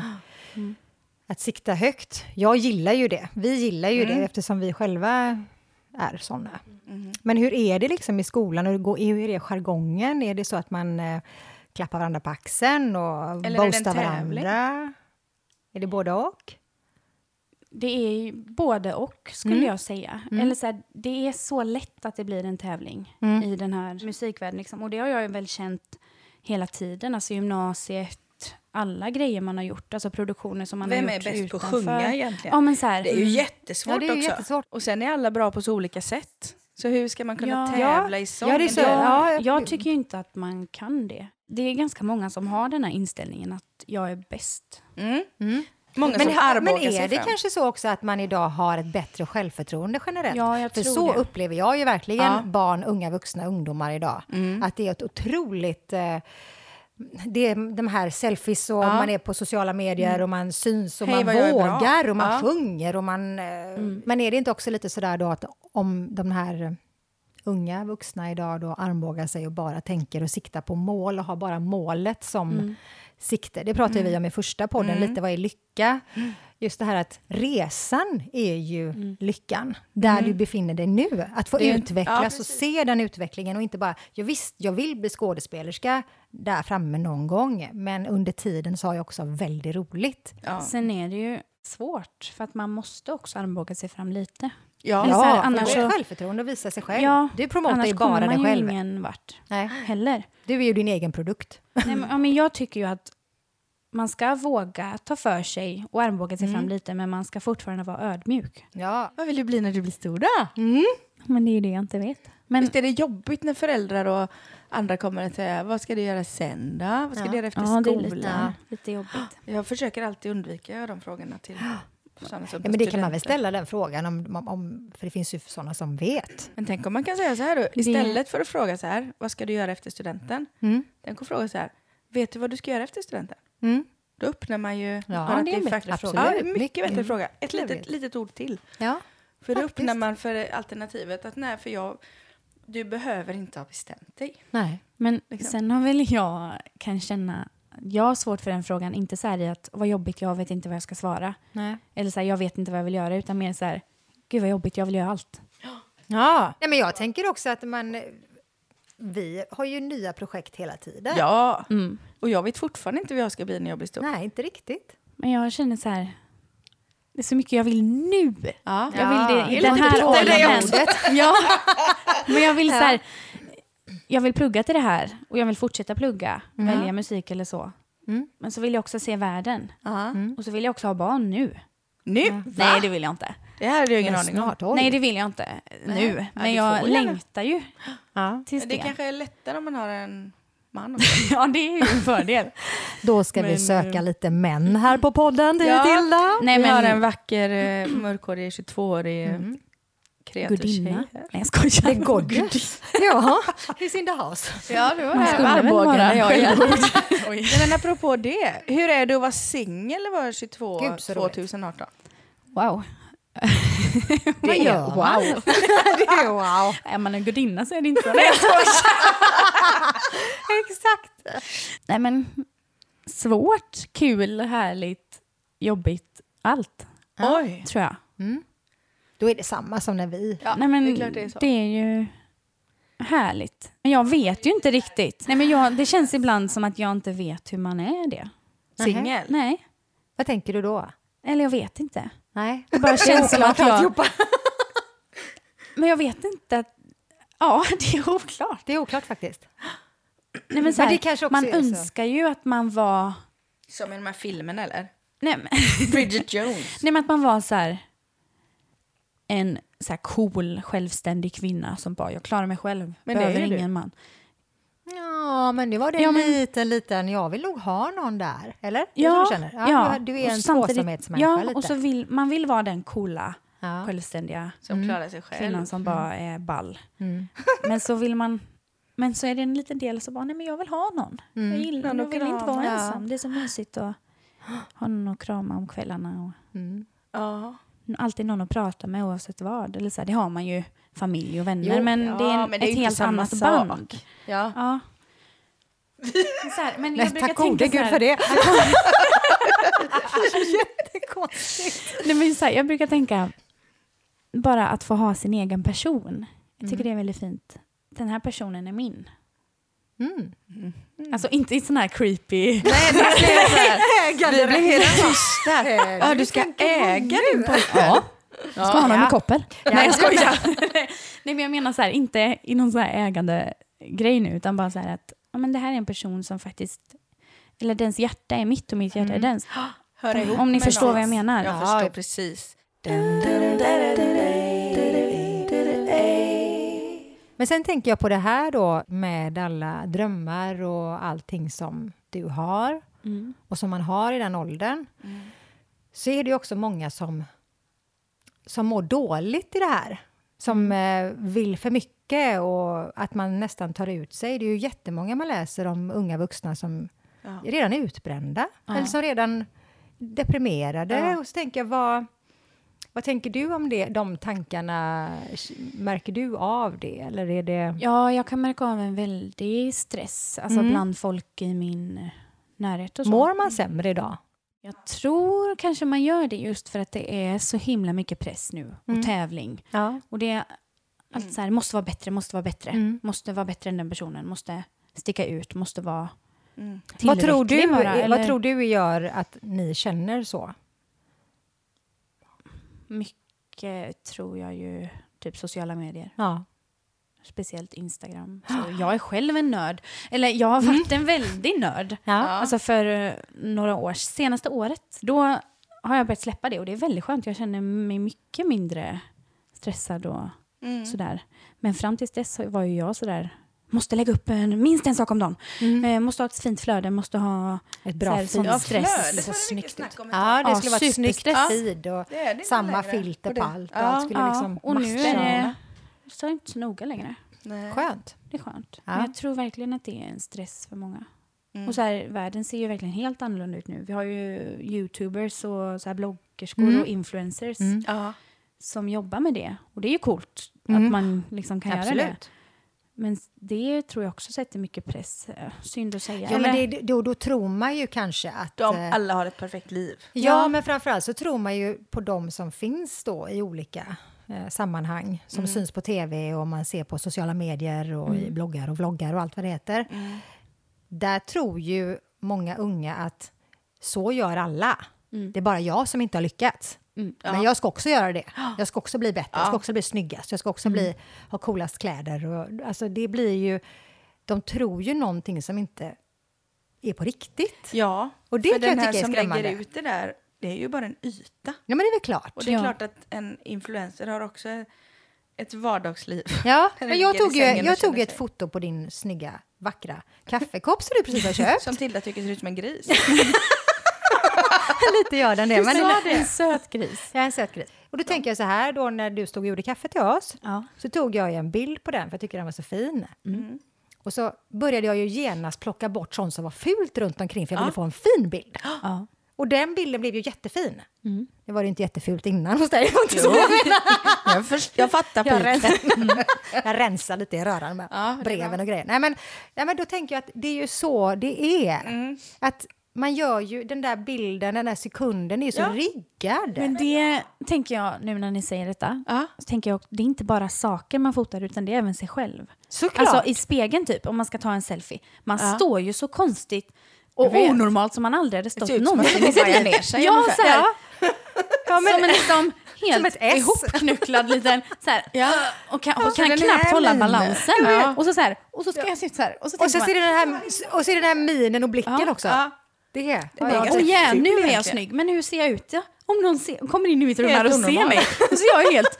S2: att sikta högt. Jag gillar ju det. Vi gillar ju
S1: Mm.
S2: det eftersom vi själva är såna. Men hur är det liksom i skolan? Hur, går, hur är det jargongen? Är det så att man eh, klappar varandra på axeln och
S1: det en
S2: boastar
S1: tävling?
S2: varandra? Är det både och?
S3: Det är ju både och, skulle
S2: Mm.
S3: jag säga. Eller så här, det är så lätt att det blir en tävling
S2: Mm.
S3: i den här musikvärlden. Liksom. Och det har jag ju väl känt hela tiden, alltså gymnasiet, alla grejer man har gjort, alltså produktioner som man
S1: Vem
S3: har
S1: är
S3: gjort
S1: bäst på att
S3: utanför.
S1: sjunga egentligen?
S3: Ja, men så här, mm.
S1: Det är ju jättesvårt
S2: Ja, det är ju
S1: också.
S2: jättesvårt.
S1: Och sen är alla bra på så olika sätt. Så hur ska man kunna
S3: Ja.
S1: tävla i sång?
S2: Ja, det är så.
S1: Eller-
S2: Ja,
S3: jag,
S2: jag-
S3: jag tycker ju inte att man kan det. Det är ganska många som har den här inställningen att jag är bäst.
S1: Mm. Många
S2: Men,
S1: som armbågar
S2: men är
S1: sig
S2: det
S1: fram.
S2: kanske så också att man idag har ett bättre självförtroende generellt?
S3: Ja, jag
S2: För
S3: tror
S2: så
S3: det.
S2: upplever jag ju verkligen
S1: Ja. Mm.
S2: barn, unga vuxna, ungdomar idag. Att det är ett otroligt... Eh, det är de här selfies och man är på sociala medier och man syns och
S1: Mm. Hej,
S2: man
S1: vad jag är bra.
S2: vågar och man
S1: Ja. Mm.
S2: sjunger och man... Eh, Men är det inte också lite sådär då att om de här unga vuxna idag då armbågar sig och bara tänker och siktar på mål och har bara målet som
S3: Mm.
S2: sikte. Det pratade vi om i första podden, lite vad är lycka? Just det här att resan är ju
S3: Mm.
S2: lyckan, där du befinner dig nu. Att få
S1: Det är ju- ja,
S2: utvecklas och
S1: precis.
S2: se den utvecklingen och inte bara, jag visst, jag vill bli skådespelerska där framme någon gång, men under tiden så har jag också väldigt roligt.
S1: Ja.
S3: Sen är det ju svårt, för att man måste också armbåga sig fram lite.
S1: Ja.
S3: Eller så
S1: Ja.
S3: här,
S2: för
S3: annars
S2: det är
S3: så-
S2: självförtroende och visa sig själv.
S3: Ja,
S2: du promotar
S3: annars
S2: ju bara
S3: kommer
S2: dig
S3: man
S2: själv.
S3: ju ingen vart
S2: Nej,
S3: heller.
S2: du är ju din egen produkt.
S3: Nej, men, ja, men jag tycker ju att man ska våga ta för sig och armbåga sig fram lite, men man ska fortfarande vara ödmjuk.
S2: Ja.
S1: Vad vill du bli när du blir stor då?
S3: Men det är ju det jag inte vet. Men,
S1: Visst är det jobbigt när föräldrar och andra kommer att säga vad ska du göra sen då? Vad ska
S2: Ja.
S1: du göra efter
S3: ja, det är
S1: skolan?
S3: lite, lite jobbigt.
S1: Jag försöker alltid undvika de frågorna till sådana som
S2: Ja, men det kan man väl
S1: studenter.
S2: ställa den frågan, om, om, om, för det finns ju sådana som vet.
S1: Men tänk om man kan säga så här då, istället för att fråga så här, vad ska du göra efter studenten?
S2: Mm,
S1: Tänk att fråga så här, vet du vad du ska göra efter studenten?
S2: mm.
S1: Då öppnar man ju...
S2: Ja,
S1: för att
S2: det är en bättre
S1: faktiskt-
S2: fråga.
S1: Ja, mycket
S2: Mycket.
S1: bättre fråga. Ett
S2: Jag vet.
S1: litet, litet ord till.
S2: Ja.
S1: För då
S2: Faktiskt.
S1: öppnar man för alternativet att nej, för jag... Du behöver inte ha bestämt dig.
S2: Nej.
S3: Men
S1: Liksom.
S3: sen har väl jag kan känna, jag har svårt för den frågan, inte så här i att vad jobbigt, jag vet inte vad jag ska svara.
S2: Nej.
S3: Eller så här, jag vet inte vad jag vill göra, utan mer så här, gud vad jobbigt, jag vill göra allt.
S2: Ja. Nej, men jag tänker också att man... Vi har ju nya projekt hela tiden.
S1: Ja,
S3: Mm.
S1: och jag vet fortfarande inte vad jag ska bli när jag blir stor.
S2: Nej, inte riktigt.
S3: Men jag känner så här, det är så mycket jag vill nu.
S1: Ja.
S3: Jag vill det
S1: Ja,
S3: i den
S1: det låter
S3: här
S1: lite det
S3: åldern.
S1: också.
S3: Ja. Men jag vill så här, jag vill plugga till det här och jag vill fortsätta plugga, välja musik eller så.
S2: Mm.
S3: Men så vill jag också se världen.
S1: Ja.
S3: Och så vill jag också ha barn nu.
S1: Nu?
S3: Nej, det vill jag inte.
S1: Det här hade jag ingen
S2: Men
S1: aning om.
S2: snart, oj.
S3: Nej, det vill jag inte nu. Men
S1: du
S3: jag
S1: får väl, eller?
S3: längtar ju
S2: Ja.
S3: tills
S1: Men Det
S3: det.
S1: kanske är lättare om man har en man. också.
S3: Ja, det är ju en fördel.
S2: Då ska vi
S3: Men,
S2: söka lite män här på podden, du Tilda.
S3: Nej,
S1: Vi har en
S3: men
S1: vacker eh, mörkhårig 22-årig mm. kreativ
S3: gudinna.
S1: tjej.
S3: Nej, jag skojar.
S2: The Goddess. ja, he's in the house.
S1: Ja, det var
S3: Man
S1: det.
S3: skulle väl
S1: Armbågen
S3: vara
S1: är jag igen. Nej, men apropå det, hur är det att vara singel och vara 22
S2: Gud, så roligt.
S1: 2018?
S3: Wow.
S2: Det
S3: Vad
S2: är
S3: gör man?
S2: wow. det är wow.
S3: Är man en gudinna så är det inte så.
S2: Exakt.
S3: Nej men, svårt, kul, härligt, jobbigt, allt
S1: Oj!
S3: tror jag.
S2: Då är det samma som när vi...
S1: Ja,
S3: Nej men,
S1: det är klart det är så.
S3: det är ju härligt. Men jag vet ju inte riktigt. Nej men jag, det känns ibland som att jag inte vet hur man är det.
S1: Singel?
S3: Nej,
S2: Vad tänker du då?
S3: eller jag vet inte.
S2: Nej.
S3: Det bara känns som att jag...
S2: alltihopa.
S3: Men jag vet inte att... Ja, det är oklart.
S2: Det är oklart faktiskt.
S3: Nej, men så här,
S2: Men det kanske också
S3: man
S2: är så.
S3: önskar ju att man var...
S1: Som i de här filmerna eller?
S3: Nej men,
S1: Bridget Jones.
S3: Nej men att man var så här en så här cool, självständig kvinna som bara jag klarar mig själv,
S1: Men det är
S3: behöver
S1: ju du.
S3: ingen man.
S2: Ja, men det var det
S3: Ja,
S2: en
S3: men-
S2: liten, liten... Jag vill nog ha någon där, eller? Det är så du, känner. Ja, Du, du är
S3: och
S2: en
S3: samtidigt-
S2: tvåsamhetsmänniska
S3: Ja,
S2: lite.
S3: och så vill man vill vara den coola,
S2: Ja. Mm.
S3: självständiga
S1: Som klarar sig själv.
S3: kvinnan som bara är ball. men så vill man men så är det en liten del som bara, nej men jag vill ha någon.
S2: Mm.
S3: Jag gillar
S1: Någon
S3: jag
S1: att
S3: vill inte vara
S1: krama.
S3: ensam. Det är så mysigt att ha någon att krama om kvällarna. Och
S1: Ja.
S3: alltid någon att prata med oavsett vad. Eller så här, det har man ju familj och vänner,
S2: Jo,
S3: men
S1: ja,
S3: det är,
S1: men
S3: en,
S1: det är
S3: ett
S1: inte
S3: helt
S1: samma
S3: annat
S1: sak.
S3: band.
S1: ja.
S3: Ja. Så här, men
S2: Nej,
S3: jag brukar
S2: tack
S3: tänka
S2: gode
S3: så
S2: gud
S3: här,
S2: för det. Jättekonstigt.
S3: Nej, men så här, jag brukar tänka bara att få ha sin egen person. Jag tycker det är väldigt fint. Den här personen är min.
S2: Mm.
S3: Alltså inte i sån här creepy...
S1: Nej, det är så här. Vi blir helt tysta. Ja, du ska äga din pojkvän. Ja.
S3: Ska ha honom i
S2: ja.
S3: koppel.
S2: Nej, jag
S3: skojar. Nej, men jag menar så här, inte i någon så här ägande grej nu, utan bara så här att ja, men det här är en person som faktiskt... Eller dens hjärta är mitt och mitt hjärta är dens.
S1: Hör ihop
S3: Om ni
S1: med
S3: förstår
S1: någon.
S3: vad jag menar.
S1: Jag
S2: Ja.
S1: förstår precis.
S2: Men sen tänker jag på det här då med alla drömmar och allting som du har och som man har i den åldern. så är det ju också många som, som mår dåligt i det här. Som eh, vill för mycket och att man nästan tar ut sig. Det är ju jättemånga man läser om unga vuxna som
S1: Ja.
S2: redan är utbrända
S3: Ja.
S2: eller som redan deprimerade.
S1: Ja.
S2: Och så tänker jag, vad, vad tänker du om det, de tankarna? Märker du av det? Eller är det...
S3: Ja, jag kan märka av en väldig stress alltså
S2: Mm.
S3: bland folk i min närhet. Och så.
S2: Mår man sämre idag?
S3: Jag tror kanske man gör det just för att det är så himla mycket press nu och
S2: Mm.
S3: tävling.
S2: Ja.
S3: Och det är allt så här, måste vara bättre, måste vara bättre.
S2: Mm.
S3: Måste vara bättre än den personen, måste sticka ut, måste vara
S1: Mm.
S2: Vad tror, du,
S3: tillräcklig bara,
S2: vad
S3: eller
S2: tror du gör att ni känner så?
S3: Mycket tror jag ju, typ sociala medier.
S2: Ja.
S3: Speciellt Instagram. Så jag är själv en nörd. Eller jag har varit
S2: Mm.
S3: en väldig nörd.
S1: Ja.
S3: Alltså för eh, några år, senaste året, då har jag börjat släppa det och det är väldigt skönt. Jag känner mig mycket mindre stressad och
S1: Mm.
S3: sådär. Men fram tills dess var ju jag sådär, måste lägga upp en, minst en sak om dagen.
S2: Mm.
S3: Eh, måste ha ett fint flöde, måste ha...
S2: Ett
S3: Så
S2: bra
S3: här,
S2: fint.
S3: sån
S1: Ja,
S3: stress.
S1: flödet var
S3: Så
S1: det mycket
S3: snyggt
S1: snack om ett
S2: Ja,
S1: tag.
S2: det
S3: Ja,
S2: skulle vara ett snyggt
S3: superstress.
S2: feed och
S1: Det är det inte
S2: samma
S1: längre.
S2: filter
S1: Och
S2: på
S1: det-
S2: allt. Och
S1: ja.
S2: allt skulle liksom
S3: och nu är
S2: matcha.
S3: det så är det inte så noga längre.
S1: Nej.
S2: Skönt.
S3: Det är skönt.
S2: Ja.
S3: Men jag tror verkligen att det är en stress för många.
S1: Mm.
S3: Och så här, världen ser ju verkligen helt annorlunda ut nu. Vi har ju youtubers och så här bloggerskor
S2: Mm.
S3: och influencers
S2: Mm.
S1: Ja.
S3: som jobbar med det. Och det är ju coolt
S2: Mm.
S3: att man liksom kan göra det.
S2: Absolut.
S3: Men det tror jag också sätter mycket press. Eh, Synd att säga.
S2: Ja, men
S3: eller?
S2: det, det- då, då tror man ju kanske att...
S1: De
S2: eh,
S1: alla har ett perfekt liv.
S2: Ja, men framförallt så tror man ju på de som finns då i olika eh, sammanhang som syns på tv och man ser på sociala medier och i bloggar och vloggar och allt vad det heter. Där tror ju många unga att så gör alla. Det är bara jag som inte har lyckats. Men jag ska också göra det. Jag ska också bli bättre, jag ska också bli snyggast, jag ska också bli, ha coolast kläder. Och, alltså det blir ju, de tror ju någonting som inte är på riktigt.
S1: Ja,
S2: Och det
S1: för
S2: kan jag
S1: den här
S2: tycka är
S1: som
S2: skrämmande.
S1: lägger ut det där, det är ju bara en yta.
S2: Ja, men det är väl klart.
S1: Och det är
S3: Ja.
S1: klart att en influencer har också ett vardagsliv.
S2: Ja,
S1: Den
S2: men
S1: ligger
S2: jag
S1: i
S2: tog, ju,
S1: sängen och
S2: jag tog
S1: känner
S2: ett
S1: sig.
S2: foto på din snygga, vackra kaffekopp som du precis har köpt.
S1: Som Tilda tycker ser ut som en gris.
S2: Lite gör den det.
S3: Du sa
S2: Men
S3: det. En söt gris.
S2: jag är en söt gris. Och då tänker jag så här, då när du stod och gjorde kaffe till oss,
S3: Ja.
S2: så tog jag ju en bild på den för jag tycker den var så fin.
S1: Mm.
S2: Mm. Och så började jag ju genast plocka bort sånt som var fult runt omkring för jag ville få en fin bild.
S3: Ja.
S2: Och den bilden blev ju jättefin.
S1: Mm.
S2: Det var ju inte jättefult innan hos dig. det var inte så jag menar.
S1: jag, först, jag fattar
S2: Jag
S1: piken.
S2: Jag rensar lite i röran med
S1: Ja, det är
S2: breven
S1: bra.
S2: och grejer. Nej men, nej, men då tänker jag att det är ju så det är.
S1: Mm.
S2: Att man gör ju den där bilden, den där sekunden, är ju så
S1: Ja.
S2: riggad.
S3: Men det tänker jag nu när ni säger detta.
S1: Ja.
S3: Så tänker jag, det är inte bara saker man fotar utan det är även sig själv.
S2: Såklart!
S3: Alltså i spegeln typ, om man ska ta en selfie. Man står ju så konstigt
S1: Jag
S3: och
S1: vet.
S3: onormalt som man aldrig hade stått
S1: ser ut som att
S3: någonsin
S1: man
S3: i sitt
S1: bajar
S3: liv.
S1: ner sig
S3: Ja,
S1: ungefär.
S3: så här. Som en liksom
S2: Som
S3: helt
S2: ett S.
S3: ihopknucklad liten så här, och kan, och
S1: så
S3: kan
S1: den
S3: knappt
S1: här
S3: hålla
S1: minen.
S3: balansen.
S1: Ja.
S3: Och så så här, och så ska jag se ut så här. Och så,
S2: och, så
S3: tänker
S2: ser
S3: man,
S2: det den här, och så är det den här minen och blicken
S3: Ja,
S2: också.
S1: ja.
S2: Det är...
S1: det är
S2: ja,
S1: ganska-
S3: Åh yeah,
S1: ful
S3: oh, nu är
S1: egentligen.
S3: jag snygg, men hur ser jag ut? Ja, om någon ser, kommer in i mitt rum
S1: Helt
S3: här och ser
S1: onormal.
S3: mig, så är jag helt...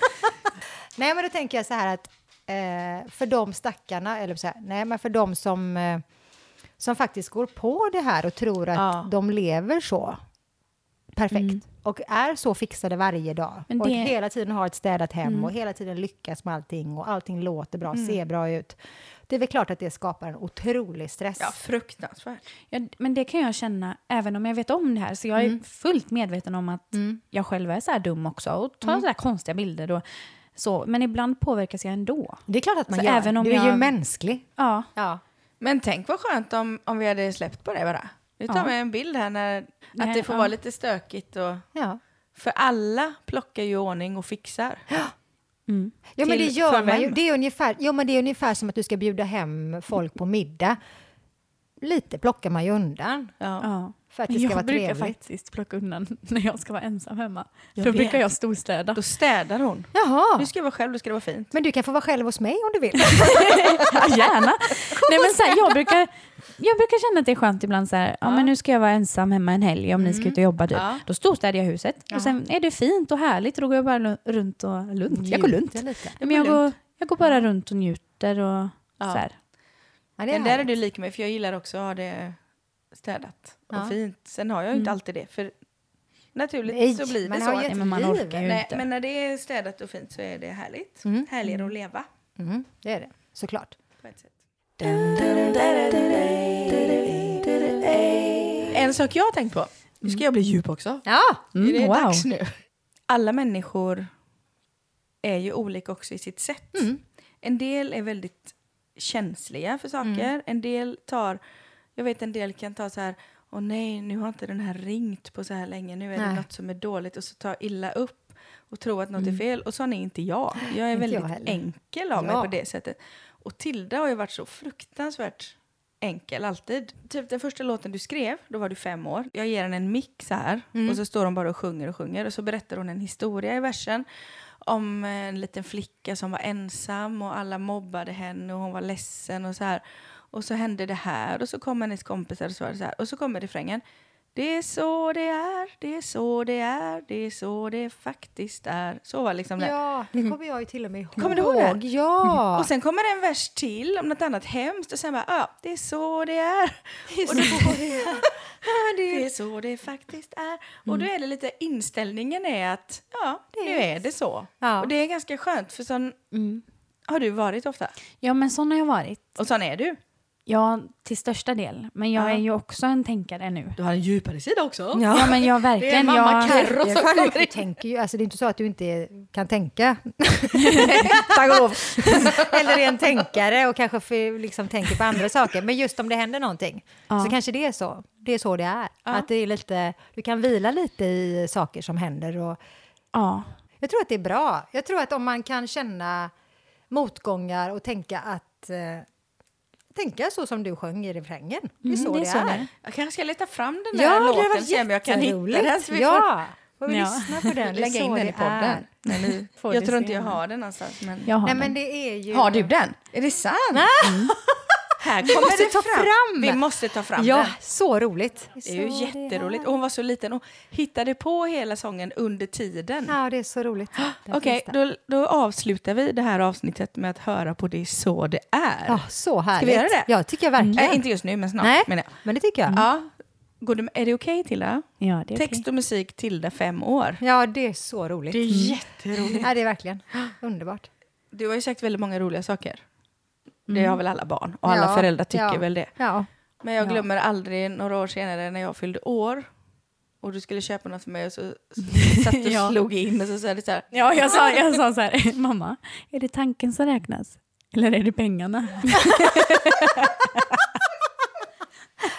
S2: Nej, men då tänker jag så här att eh, för de stackarna, eller så här, nej, men för de som, eh, som faktiskt går på det här och tror att
S1: Ja.
S2: de lever så perfekt och är så fixade varje dag
S3: Mm. Men
S2: och
S3: det- Mm.
S2: hela tiden har ett städat hem och hela tiden lyckas med allting och allting låter bra, ser bra ut. Det är väl klart att det skapar en otrolig stress.
S1: Ja, fruktansvärt.
S3: Ja, men det kan jag känna, även om jag vet om det här. Så jag är fullt medveten om att jag själv är så här dum också och tar så här konstiga bilder. Och, så, men ibland påverkas jag ändå.
S2: Det är klart att man
S3: Så
S2: gör.
S3: Alltså, även om
S2: du är ju
S3: jag-
S2: mänsklig.
S3: Ja,
S2: Ja.
S1: Men tänk vad skönt om, om vi hade släppt på det bara. Nu tar
S3: Ja.
S1: vi en bild här när,
S3: Nej,
S1: att det får
S3: ja.
S1: vara lite stökigt. Och,
S2: Ja.
S1: för alla plockar ju ordning och fixar.
S3: Mm.
S2: Ja, men det
S1: Till-
S2: gör
S1: för
S2: man ju.
S1: vem?
S2: Det är, ungefär, jo, men det är ungefär som att du ska bjuda hem folk på middag. Lite plockar man ju undan
S1: Ja.
S3: ja.
S2: för att det
S3: Men
S2: ska
S3: jag
S2: vara
S3: brukar
S2: trevligt.
S3: faktiskt plocka undan när jag ska vara ensam hemma.
S1: Jag
S3: Då
S1: vet.
S3: brukar jag storstäda.
S1: Då städar hon.
S2: Jaha,
S1: Nu ska jag vara själv, då ska det vara fint.
S2: men du kan få vara själv hos mig om du vill.
S3: Ja, gärna. Nej, men så här, jag, brukar, jag brukar känna att det är skönt ibland så här, ja. men nu ska jag vara ensam hemma en helg om ni ska ut och jobba typ.
S1: Ja.
S3: Då storstädar jag huset och sen är det fint och härligt och då går jag bara lu- runt och lunt. Jag går lunt.
S2: Njuter lite.
S3: Ja, men jag, går, jag går bara runt och njuter och
S1: Ja.
S3: så här.
S2: Ja, det är
S1: Den där är
S2: härligt.
S1: du lik mig, för jag gillar också att ha det städat och
S2: Ja.
S1: fint. Sen har jag ju inte alltid det, för Naturligt
S2: Nej,
S1: så blir det
S2: man
S1: så.
S2: har ju
S3: Nej,
S2: ett
S3: men man
S2: liv.
S3: orkar ju
S1: Nej,
S3: inte.
S1: men när det är städat och fint så är det härligt.
S2: Mm.
S1: Härligare att leva
S2: Mm, det är det, såklart.
S1: på ett sätt. En sak jag har tänkt på. Nu ska jag bli djup också.
S2: Ja!
S3: Mm,
S1: är det
S3: wow.
S1: dags nu? Alla människor är ju olika också i sitt sätt.
S2: Mm.
S1: En del är väldigt känsliga för saker.
S2: Mm.
S1: En del tar, jag vet en del kan ta så här, åh nej nu har inte den här ringt på så här länge, nu är det
S2: Nej.
S1: något som är dåligt och så ta illa upp och tro att något är fel. Och sån är inte jag. Jag är
S2: Mm. Inte jag
S1: väldigt
S2: heller.
S1: enkel av mig
S2: Ja.
S1: på det sättet. Och Tilda har ju varit så fruktansvärt enkel alltid. Typ den första låten du skrev, då var du fem år. Jag ger henne en mick så här och så står hon bara och sjunger och sjunger och så berättar hon en historia i versen om en liten flicka som var ensam och alla mobbade henne och hon var ledsen och så här. Och så hände det här och så kom hennes kompisar och så var det så här. Och så kommer refrängen. Det är så det är, det är så det är, det är så det faktiskt är. Så var liksom det.
S2: Ja, det kommer jag ju till och med ihåg.
S1: Kommer du ihåg det?
S2: Ja!
S1: Och sen kommer det en vers till om något annat hemskt och sen bara, ja, det är så det är. Och då, det är så det faktiskt är. Och då är det lite, inställningen är att, ja, nu är det så.
S2: Ja.
S1: Och det är ganska skönt, för sån
S3: Mm.
S1: har du varit ofta.
S3: Ja, men sån har jag varit.
S1: Och sån är du.
S3: Ja, till största del. Men jag
S1: Ja.
S3: är ju också en tänkare nu.
S1: Du har en djupare sida också.
S3: Ja, men jag verkligen. jag,
S2: Det är fan- du tänker ju, alltså det är inte så att du inte kan tänka.
S1: Tack och lov.
S2: Eller är en tänkare och kanske för, liksom, tänker på andra saker. Men just om det händer någonting
S3: Ja.
S2: så kanske det är så. Det är så det är.
S1: Ja.
S2: Att det är lite, du kan vila lite i saker som händer. Och
S3: ja.
S2: jag tror att det är bra. Jag tror att om man kan känna motgångar och tänka att eh, tänka så som du sjöng i refrängen. Det är
S3: Mm,
S2: så det, är.
S1: Jag kanske ska leta fram den där
S2: Ja, det
S1: låten
S2: har
S1: och se om jag
S2: varit
S1: kan hitta den. Så
S2: jätteroligt.
S1: vi
S2: Ja, får vi
S3: Ja.
S2: lyssna på den. Det är
S1: lägga in
S2: så
S1: den
S2: det
S1: i podden.
S2: är.
S1: Men nu
S3: Får
S1: jag
S3: du
S1: tror
S3: se
S1: inte jag
S3: den.
S1: har den någonstans. Men...
S3: Jag har
S2: Nej,
S3: den.
S2: men det är ju...
S1: Har du den? Är det sant? Här kommer
S2: måste
S1: det
S2: ta fram.
S1: Vi måste ta fram
S2: Ja,
S1: den.
S2: så roligt.
S1: Det är ju jätteroligt. Och hon var så liten och hittade på hela sången under tiden.
S2: Ja, det är så roligt. Den
S1: Okej,
S2: finns där.
S1: då, då avslutar vi det här avsnittet med att höra på Det är så det är.
S2: Ja, så härligt.
S1: Ska vi göra det?
S2: Ja, tycker jag verkligen.
S1: Äh, inte just nu, men snart.
S2: Nej, Mm.
S1: menar jag.
S2: men det tycker jag.
S1: Ja. Går det, är det okej, Tilda?
S3: Ja, det är okej.
S1: Text och musik, Tilda, fem år.
S2: Ja, det är så roligt. Mm.
S1: är jätteroligt.
S2: Ja, det är verkligen underbart.
S1: Du har ju sagt väldigt många roliga saker. Det har väl alla barn och alla
S2: Mm. Ja,
S1: föräldrar tycker
S2: ja.
S1: väl det.
S2: Ja.
S1: Men jag glömmer aldrig några år senare när jag fyllde år och du skulle köpa något för mig och så satt du och
S3: Ja.
S1: slog in och så sa du så här.
S3: Ja, jag sa, jag sa så här, mamma, är det tanken som räknas? Eller är det pengarna?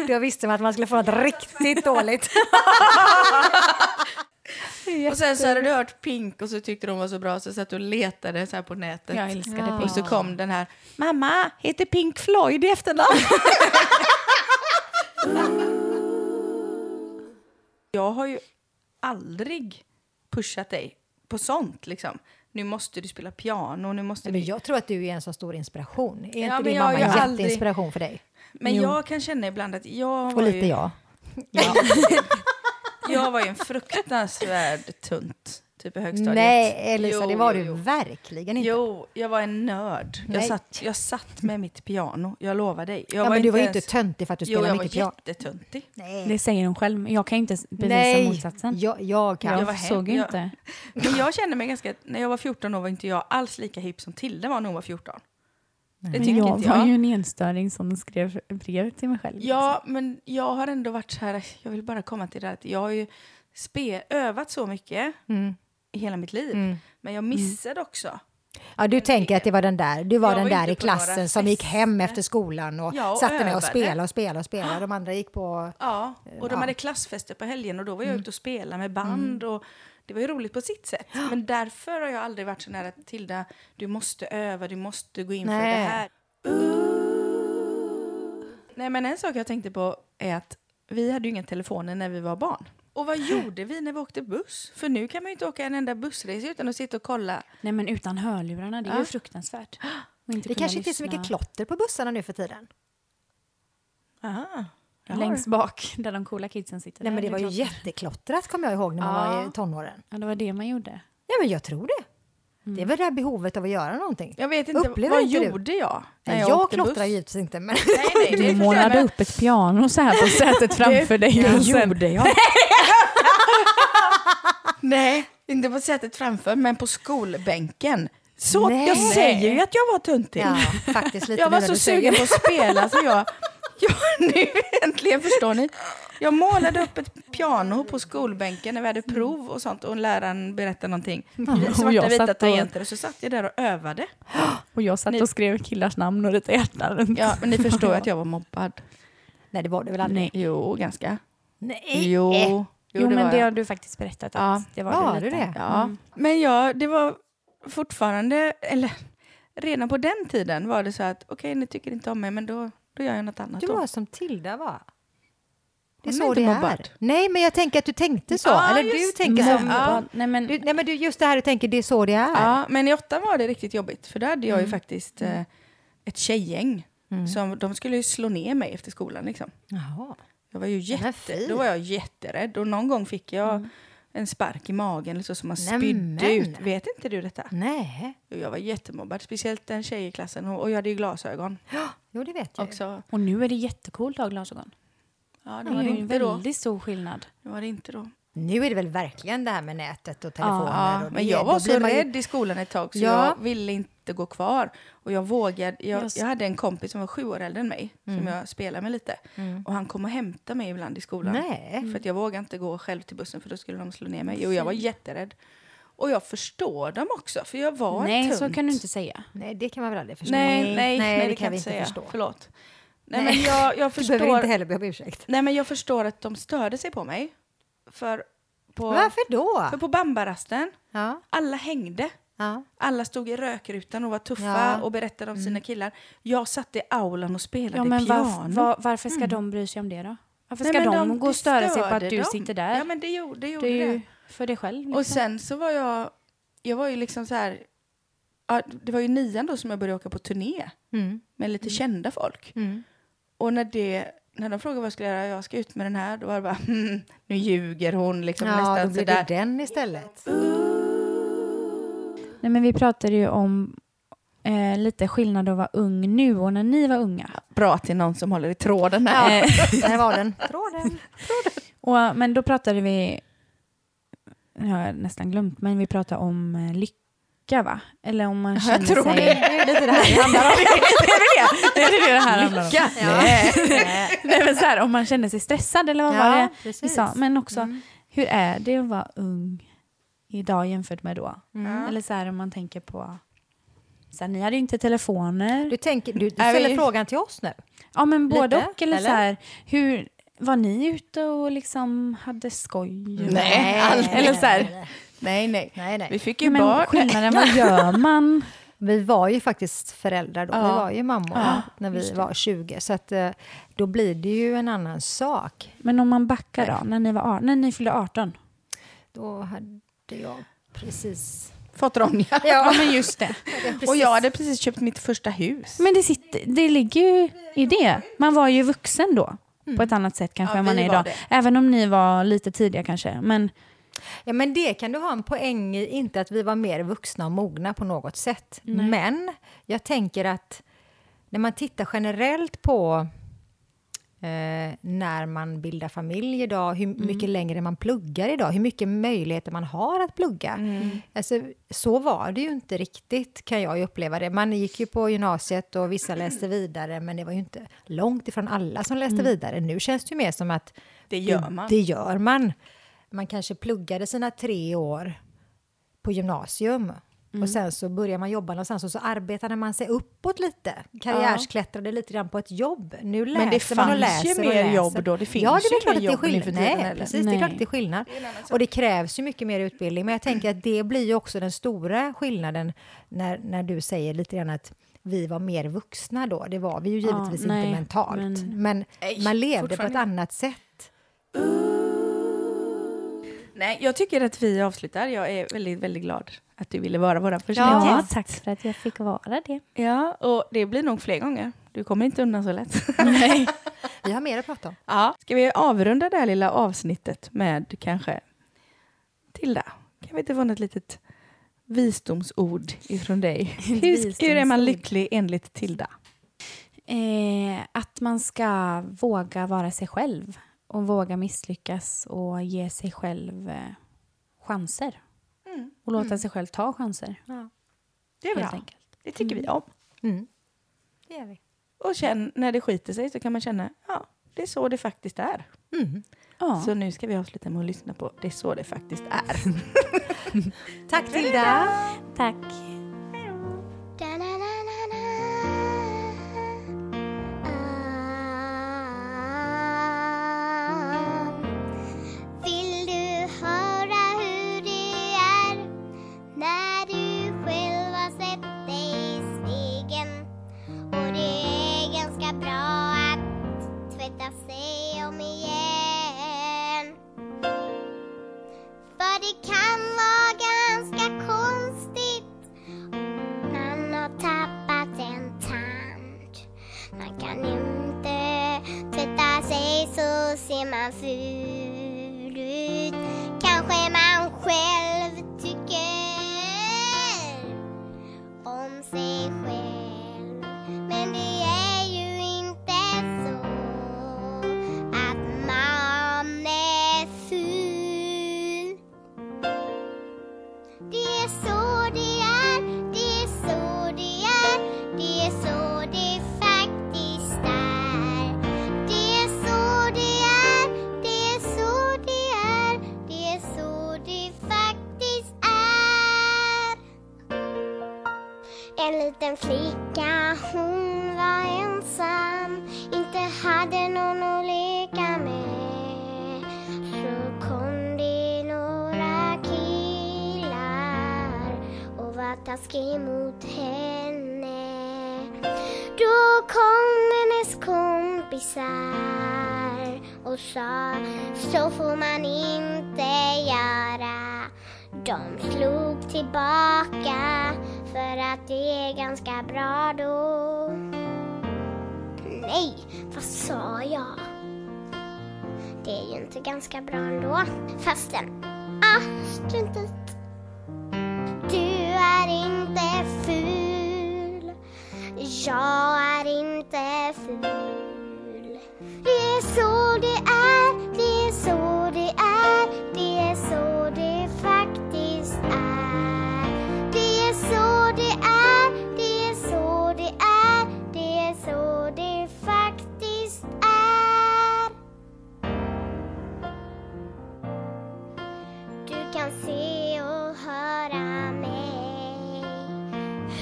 S2: Då visste man att man skulle få något riktigt dåligt.
S1: Och sen så hade du hört Pink och så tyckte de var så bra så satt du och letade så här på nätet.
S3: Jag älskade
S2: Ja.
S3: pengarna.
S1: Och så kom den här, mamma, heter Pink Floyd i efternamn? jag har ju aldrig pushat dig på sånt liksom. Nu måste du spela piano, nu måste
S2: Men
S1: du...
S2: jag tror att du är en så stor inspiration. Är
S1: Ja, men
S2: inte din
S1: jag har
S2: mamma
S1: ju
S2: en
S1: aldrig-
S2: jätteinspiration för dig?
S1: Men
S3: Jo.
S1: jag kan känna ibland att jag
S2: Och
S1: var,
S2: lite
S1: ju,
S2: jag.
S1: jag var ju en fruktansvärd tunt, typ i högstadiet.
S2: Nej, Elisa,
S1: Jo,
S2: det var
S1: jo,
S2: du
S1: jo.
S2: verkligen inte.
S1: Jo, jag var en nörd. Jag
S2: Nej.
S1: satt, jag satt med mitt piano, jag lovar dig. Jag
S2: ja, men du var ju inte
S1: ens-
S2: töntig för att du
S1: Jo,
S2: spelade
S1: jag var
S2: mycket piano.
S1: jättetöntig.
S3: Det säger hon själv, men jag kan ju inte bevisa motsatsen.
S2: jag, jag kan.
S1: Jag
S3: Jag,
S1: var hem-
S3: såg ju
S1: jag-
S3: inte.
S1: Men jag kände mig ganska... När jag var 14 år var inte jag alls lika hipp som Tilde var när hon var 14. Det
S3: Men
S1: tycker
S3: jag
S1: inte
S3: var
S1: jag.
S3: ju en enstöring som skrev brev till mig själv. liksom.
S1: Ja, men jag har ändå varit så här... Jag vill bara komma till det här att jag har ju spe, övat så mycket
S2: Mm.
S1: i hela mitt liv. Men jag missade också.
S2: Ja, du tänker att det var den där, du var
S1: Jag var
S2: den där
S1: inte
S2: i
S1: på några
S2: klassen som gick
S1: fester.
S2: hem efter skolan och,
S1: Ja, och
S2: satte mig och
S1: övade.
S2: spelade och spelade och spelade. De andra gick på...
S1: Ja, och de
S2: Eh, Ja. Mm.
S1: hade klassfester på helgen och då var jag ute och spelade med band och det var ju roligt på sitt sätt. Men därför har jag aldrig varit så nära att Tilda, du måste öva, du måste gå in för det
S2: Nej.
S1: här. Nej men en sak jag tänkte på är att vi hade ju inga telefoner när vi var barn. Och vad gjorde vi när vi åkte buss? För nu kan man ju inte åka en enda bussresa utan att sitta och kolla.
S3: Nej, men utan hörlurarna, det är
S1: Ja.
S3: ju fruktansvärt. Och inte
S2: Det
S3: kunna
S2: kanske inte är så
S3: lyssna
S2: mycket klotter på bussarna nu för tiden.
S1: Aha.
S3: Längst bak, där de coola kidsen sitter.
S2: Nej, men
S3: Där
S2: det
S3: är
S2: var ju
S3: klotter.
S2: jätteklottrat kommer jag ihåg när man var i tonåren.
S3: Ja, det var det man gjorde.
S2: Ja, men jag tror det.
S1: Mm.
S2: Det är väl det här behovet av att göra någonting.
S1: Jag vet inte,
S2: Upplever
S1: vad
S2: inte du?
S1: gjorde jag?
S2: Nej, jag klottrar givetvis inte, men
S1: Nej, nej, det
S3: Du
S1: förstår jag,
S3: målade
S1: men-
S3: upp ett piano så här på sätet framför dig.
S1: det
S3: och sen-
S1: gjorde jag. Nej, inte på sätet framför, men på skolbänken. Så
S2: Nej.
S1: jag säger ju att jag var töntig.
S2: Ja, faktiskt lite
S1: jag var
S2: nu när
S1: så
S2: du säger
S1: sugen på att spela så jag... Ja, nu äntligen förstår ni. Jag målade upp ett piano på skolbänken när vi hade prov och sånt och läraren berättade någonting.
S3: Och
S1: Svarta
S3: jag
S1: vita
S3: satt och-
S1: tangenter och så satt jag där och övade.
S3: Och jag satt
S1: Ni-
S3: och skrev killars namn och ritade hjärtan runt.
S1: Ja, men ni förstår ju att jag var mobbad.
S2: Nej, det var det väl aldrig?
S3: Nej.
S1: Jo, ganska.
S2: Nej.
S1: Jo,
S3: Jo,
S1: det
S3: men
S1: var
S3: det
S1: jag.
S3: har du faktiskt berättat att
S1: Ja.
S3: det var,
S2: Var
S3: du
S2: du
S3: lite.
S2: det?
S1: Ja, men ja, det var fortfarande, eller redan på den tiden var det så att okej, ni tycker inte om mig, men då, då gör jag något annat.
S2: Du
S1: då.
S2: var som Tilda var. Det
S1: Hon är
S2: är så
S1: inte
S2: det
S1: mobbad.
S2: är. Nej, men jag tänker att du tänkte så.
S1: Ja,
S2: Eller du
S1: just
S2: tänker
S1: det. Mm.
S2: som...
S1: Ja.
S3: Nej, men,
S2: Du, nej, men du, just det här du tänker, det är så det är.
S1: Ja, men i åttan var det riktigt jobbigt, för då hade jag
S2: Mm.
S1: ju faktiskt eh, ett tjejgäng. Som, de skulle ju slå ner mig efter skolan. Liksom.
S2: Jaha.
S1: Jag var ju jätte,
S2: fy. Mm.
S1: då var jag jätterädd och någon gång fick jag en spark i magen eller så, som man
S2: Nämen. Mm.
S1: spydde ut. Vet inte du detta?
S2: Nej.
S1: Jo, Jag var jättemobbad, speciellt en tjej i klassen och, och jag hade ju glasögon.
S2: Jo, det vet jag. ju.
S1: Också.
S3: och nu är det jättecoolt att ha glasögon.
S1: Ja, det
S3: Det är
S1: var det
S3: ju en
S1: inte då.
S3: väldigt stor skillnad.
S1: Det var det inte då.
S2: Nu är det väl verkligen det här med nätet och telefoner.
S1: Ja,
S2: och
S1: men
S2: det-
S1: jag var
S2: då blir
S1: så
S2: man ju-
S1: rädd i skolan ett tag så
S2: Ja.
S1: jag ville inte gå kvar. Och jag vågade, jag,
S3: Jag s-
S1: jag hade en kompis som var sju år äldre än mig
S2: Mm.
S1: som jag spelade med lite. Och han kom och hämtade mig ibland i skolan.
S2: Nej.
S1: För att jag vågade inte gå själv till bussen för då skulle de slå ner mig. Jo, jag var jätterädd. Och jag förstår dem också för jag var en
S3: Nej, så
S1: tunt.
S3: kan du inte säga.
S2: Nej, det kan man väl aldrig förstå.
S1: Nej, nej, nej,
S2: nej
S1: det, kan jag
S2: vi
S1: inte säga.
S2: förstå.
S1: Förlåt. Nej,
S2: Nej.
S1: men jag, jag
S2: Du behöver inte
S1: förstår.
S2: heller be om ursäkt.
S1: Nej, men jag förstår att de störde sig på mig. För på,
S2: Varför då?
S1: för på bambarasten,
S2: Ja,
S1: alla hängde.
S2: ja.
S1: Alla stod i rökrutan och var tuffa
S2: Ja.
S1: och berättade om sina killar. Jag satt i aulan och spelade
S3: Mm. Ja, men
S1: piano.
S3: var, var, varför ska de bry sig om det då? Varför
S1: Nej,
S3: ska
S1: men
S3: de, gå och
S1: det
S3: störa sig på att
S1: störde
S3: du
S1: dem.
S3: sitter där?
S1: Ja, men det gjorde det. Gjorde
S3: det är ju
S1: det.
S3: för dig själv. Liksom.
S1: Och sen så var jag... Jag var ju liksom så här... Ja, det var ju nian då som jag började åka på turné
S2: Mm.
S1: med lite kända folk.
S2: Mm.
S1: Och när, det, när de frågade vad jag skulle göra, jag ska ut med den här, då var det bara "Hmm, nu ljuger hon liksom
S2: ja då
S1: nästan
S2: blir
S1: sådär.
S2: det den istället.
S3: Nej, men vi pratade ju om eh, lite skillnad att vara ung nu och när ni var unga.
S1: Bra till någon som håller i tråden här.
S2: Ja, där var den. Tråden.
S3: Och, men då pratade vi, jag har nästan glömt, men vi pratade om eh, lycka va? Eller om man känner
S1: tror
S3: sig...
S1: det.
S2: Det är lite det här det handlar om.
S3: Det är det det här handlar om.
S2: Ja. Nej.
S3: Nej, men så här, om man känner sig stressad eller vad var det
S2: Ja,
S3: vi
S2: precis.
S3: sa?
S1: liksom.
S3: Men också,
S2: Mm.
S3: hur är det att vara ung idag jämfört med då?
S1: Mm.
S3: Eller så här om man tänker på... Så här, ni hade ju inte telefoner.
S2: Du, tänker, du, du
S1: Nej,
S2: ställer
S1: vi-
S2: frågan till oss nu.
S3: Ja, men både
S2: Lite,
S3: och. Eller,
S2: eller?
S3: så här, hur var ni ute och liksom hade skoj?
S1: Nej, aldrig.
S3: Eller så här,
S1: Nej, nej.
S2: Nej,
S1: Vi
S2: nej.
S1: fick ju
S3: men
S1: barn.
S3: skillnaden, vad gör man?
S2: Vi var ju faktiskt föräldrar då. Vi
S1: Ja.
S2: var ju mammor
S1: Ja,
S2: när vi var 20. Så att, eh, då blir det ju en annan sak.
S3: Men om man backar då, när ni, var, ar- när ni fyllde 18?
S2: Då hade jag precis...
S1: Fått Ronja.
S3: Ja, men just det.
S1: Och jag hade precis köpt mitt första hus.
S3: Men det, sitter, det ligger ju i det. Man var ju vuxen då. På ett annat sätt kanske
S1: Ja,
S3: än man
S1: vi
S3: är
S1: var
S3: idag.
S1: det.
S3: Även om ni var lite tidiga kanske. Men
S2: Ja, men det kan du ha en poäng i, inte att vi var mer vuxna och mogna på något sätt. Men jag tänker att när man tittar generellt på eh, när man bildar familj idag, hur
S1: Mm.
S2: mycket längre man pluggar idag, hur mycket möjligheter man har att plugga.
S1: Mm.
S2: Alltså, så var det ju inte riktigt, kan jag ju uppleva det. Man gick ju på gymnasiet och vissa läste vidare, men det var ju inte långt ifrån alla som läste vidare. Nu känns det ju mer som att
S1: Mm. Det gör man.
S2: det gör man. Man kanske pluggade sina tre år på gymnasium.
S1: Mm.
S2: Och sen så började man jobba någonstans och så arbetade man sig uppåt lite. Karriärsklättrade lite grann på ett jobb. Nu läser
S1: Men det
S2: man och
S1: fanns ju
S2: läser och
S1: mer
S2: läser.
S1: jobb då. Det finns
S2: ja,
S1: ju
S2: det är klart
S1: inga
S2: att det är
S1: jobb nu
S2: skillnad.
S1: för tiden,
S2: Nej,
S1: eller?
S2: precis. Det är
S3: Nej.
S2: klart att det är skillnad. Och det krävs ju mycket mer utbildning. Men jag tänker att det blir ju också den stora skillnaden när, när du säger lite grann att vi var mer vuxna då. Det var vi ju
S3: Ja,
S2: givetvis
S3: nej,
S2: inte mentalt.
S3: men-
S2: Men
S1: Nej,
S2: man levde på ett
S1: fortfarande.
S2: annat sätt.
S1: Nej, jag tycker att vi avslutar. Jag är väldigt, väldigt glad att du ville vara vår första
S2: Ja.
S1: gäst.
S3: tack för att jag fick vara det.
S1: Ja, och det blir nog fler gånger. Du kommer inte undan så lätt.
S2: Vi har mer att prata om.
S1: ja. Ska vi avrunda det här lilla avsnittet med kanske Tilda? Kan vi inte få något litet visdomsord ifrån dig? Hur, hur är man
S3: visdomsord.
S1: lycklig enligt Tilda?
S3: Eh, att man ska våga vara sig själv och våga misslyckas och ge sig själv eh, chanser
S1: Mm.
S3: och låta sig själv ta chanser.
S2: Ja.
S1: Det är
S3: Helt
S1: bra.
S3: enkelt.
S1: Det tycker vi om.
S2: Mm. Det gör vi.
S1: Och sen när det skiter sig så kan man känna ja, det är så det faktiskt är.
S2: Mm.
S3: Ja.
S1: Så nu ska vi avsluta med att lyssna på Det är så det faktiskt är.
S2: Tack Tilda!
S3: Tack.
S4: Da-na-na-na-na. Ah. Vill du höra hur det är när du själv har sett dig i spegeln? Och det är ganska bra att tvätta sig om igen. För det kan vara ganska konstigt man har tappat en tand. Man kan inte tvätta sig så ser man ful ut. Kanske man själv tycker om sig själv. Men det är ju inte så att man är ful. Det är så det är, det är så det är, det är så det faktiskt är. Det är så det är, det är så det är, det är så det faktiskt är. En liten flicka, hon var ensam Inte hade någon att leka med Så kom det några killar och var taskiga mot henne Då kom hennes kompisar och sa Så får man inte göra de slog tillbaka för att det är ganska bra då. Nej, vad sa jag? Det är ju inte ganska bra ändå. Fastän, ah, strunt i. Du är inte ful. Jag är inte ful. Det är så det är, det är så det är, det är så det faktiskt är. Det är så det är, det är så det är, det är så det faktiskt är. Du kan se och höra mig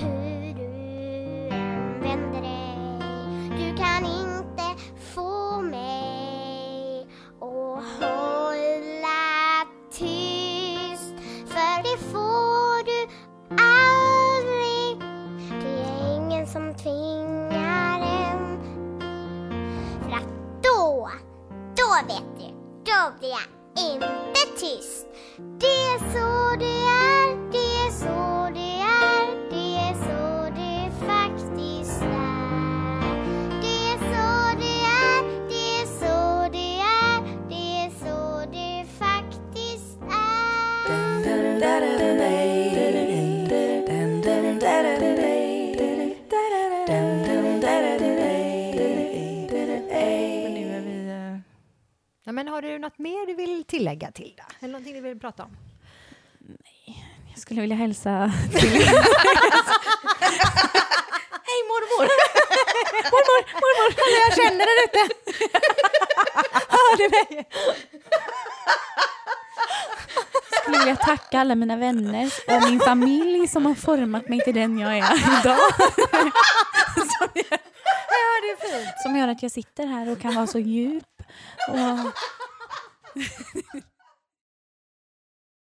S4: hur du än vänder dig. Du kan inte få mig att hålla tyst. För det får du aldrig. Det är ingen som tvingar en. För att då, då vet du, då blir jag inte tyst. Det är så det är, det är så det är, det är så det faktiskt är. Det är så det är, det är så det är, det är så det faktiskt är.
S1: Men nu är vi... eh,
S2: Ja, men har du något mer du vill tillägga Tilda? Eller någonting du vill prata om?
S3: Jag skulle vilja hälsa
S1: Hej mormor!
S2: Jag känner det inte.
S3: skulle vilja tacka alla mina vänner och min familj som har format mig till den jag är idag.
S2: Ja, det är fint.
S3: Som gör att jag sitter här och kan vara så djup. Och...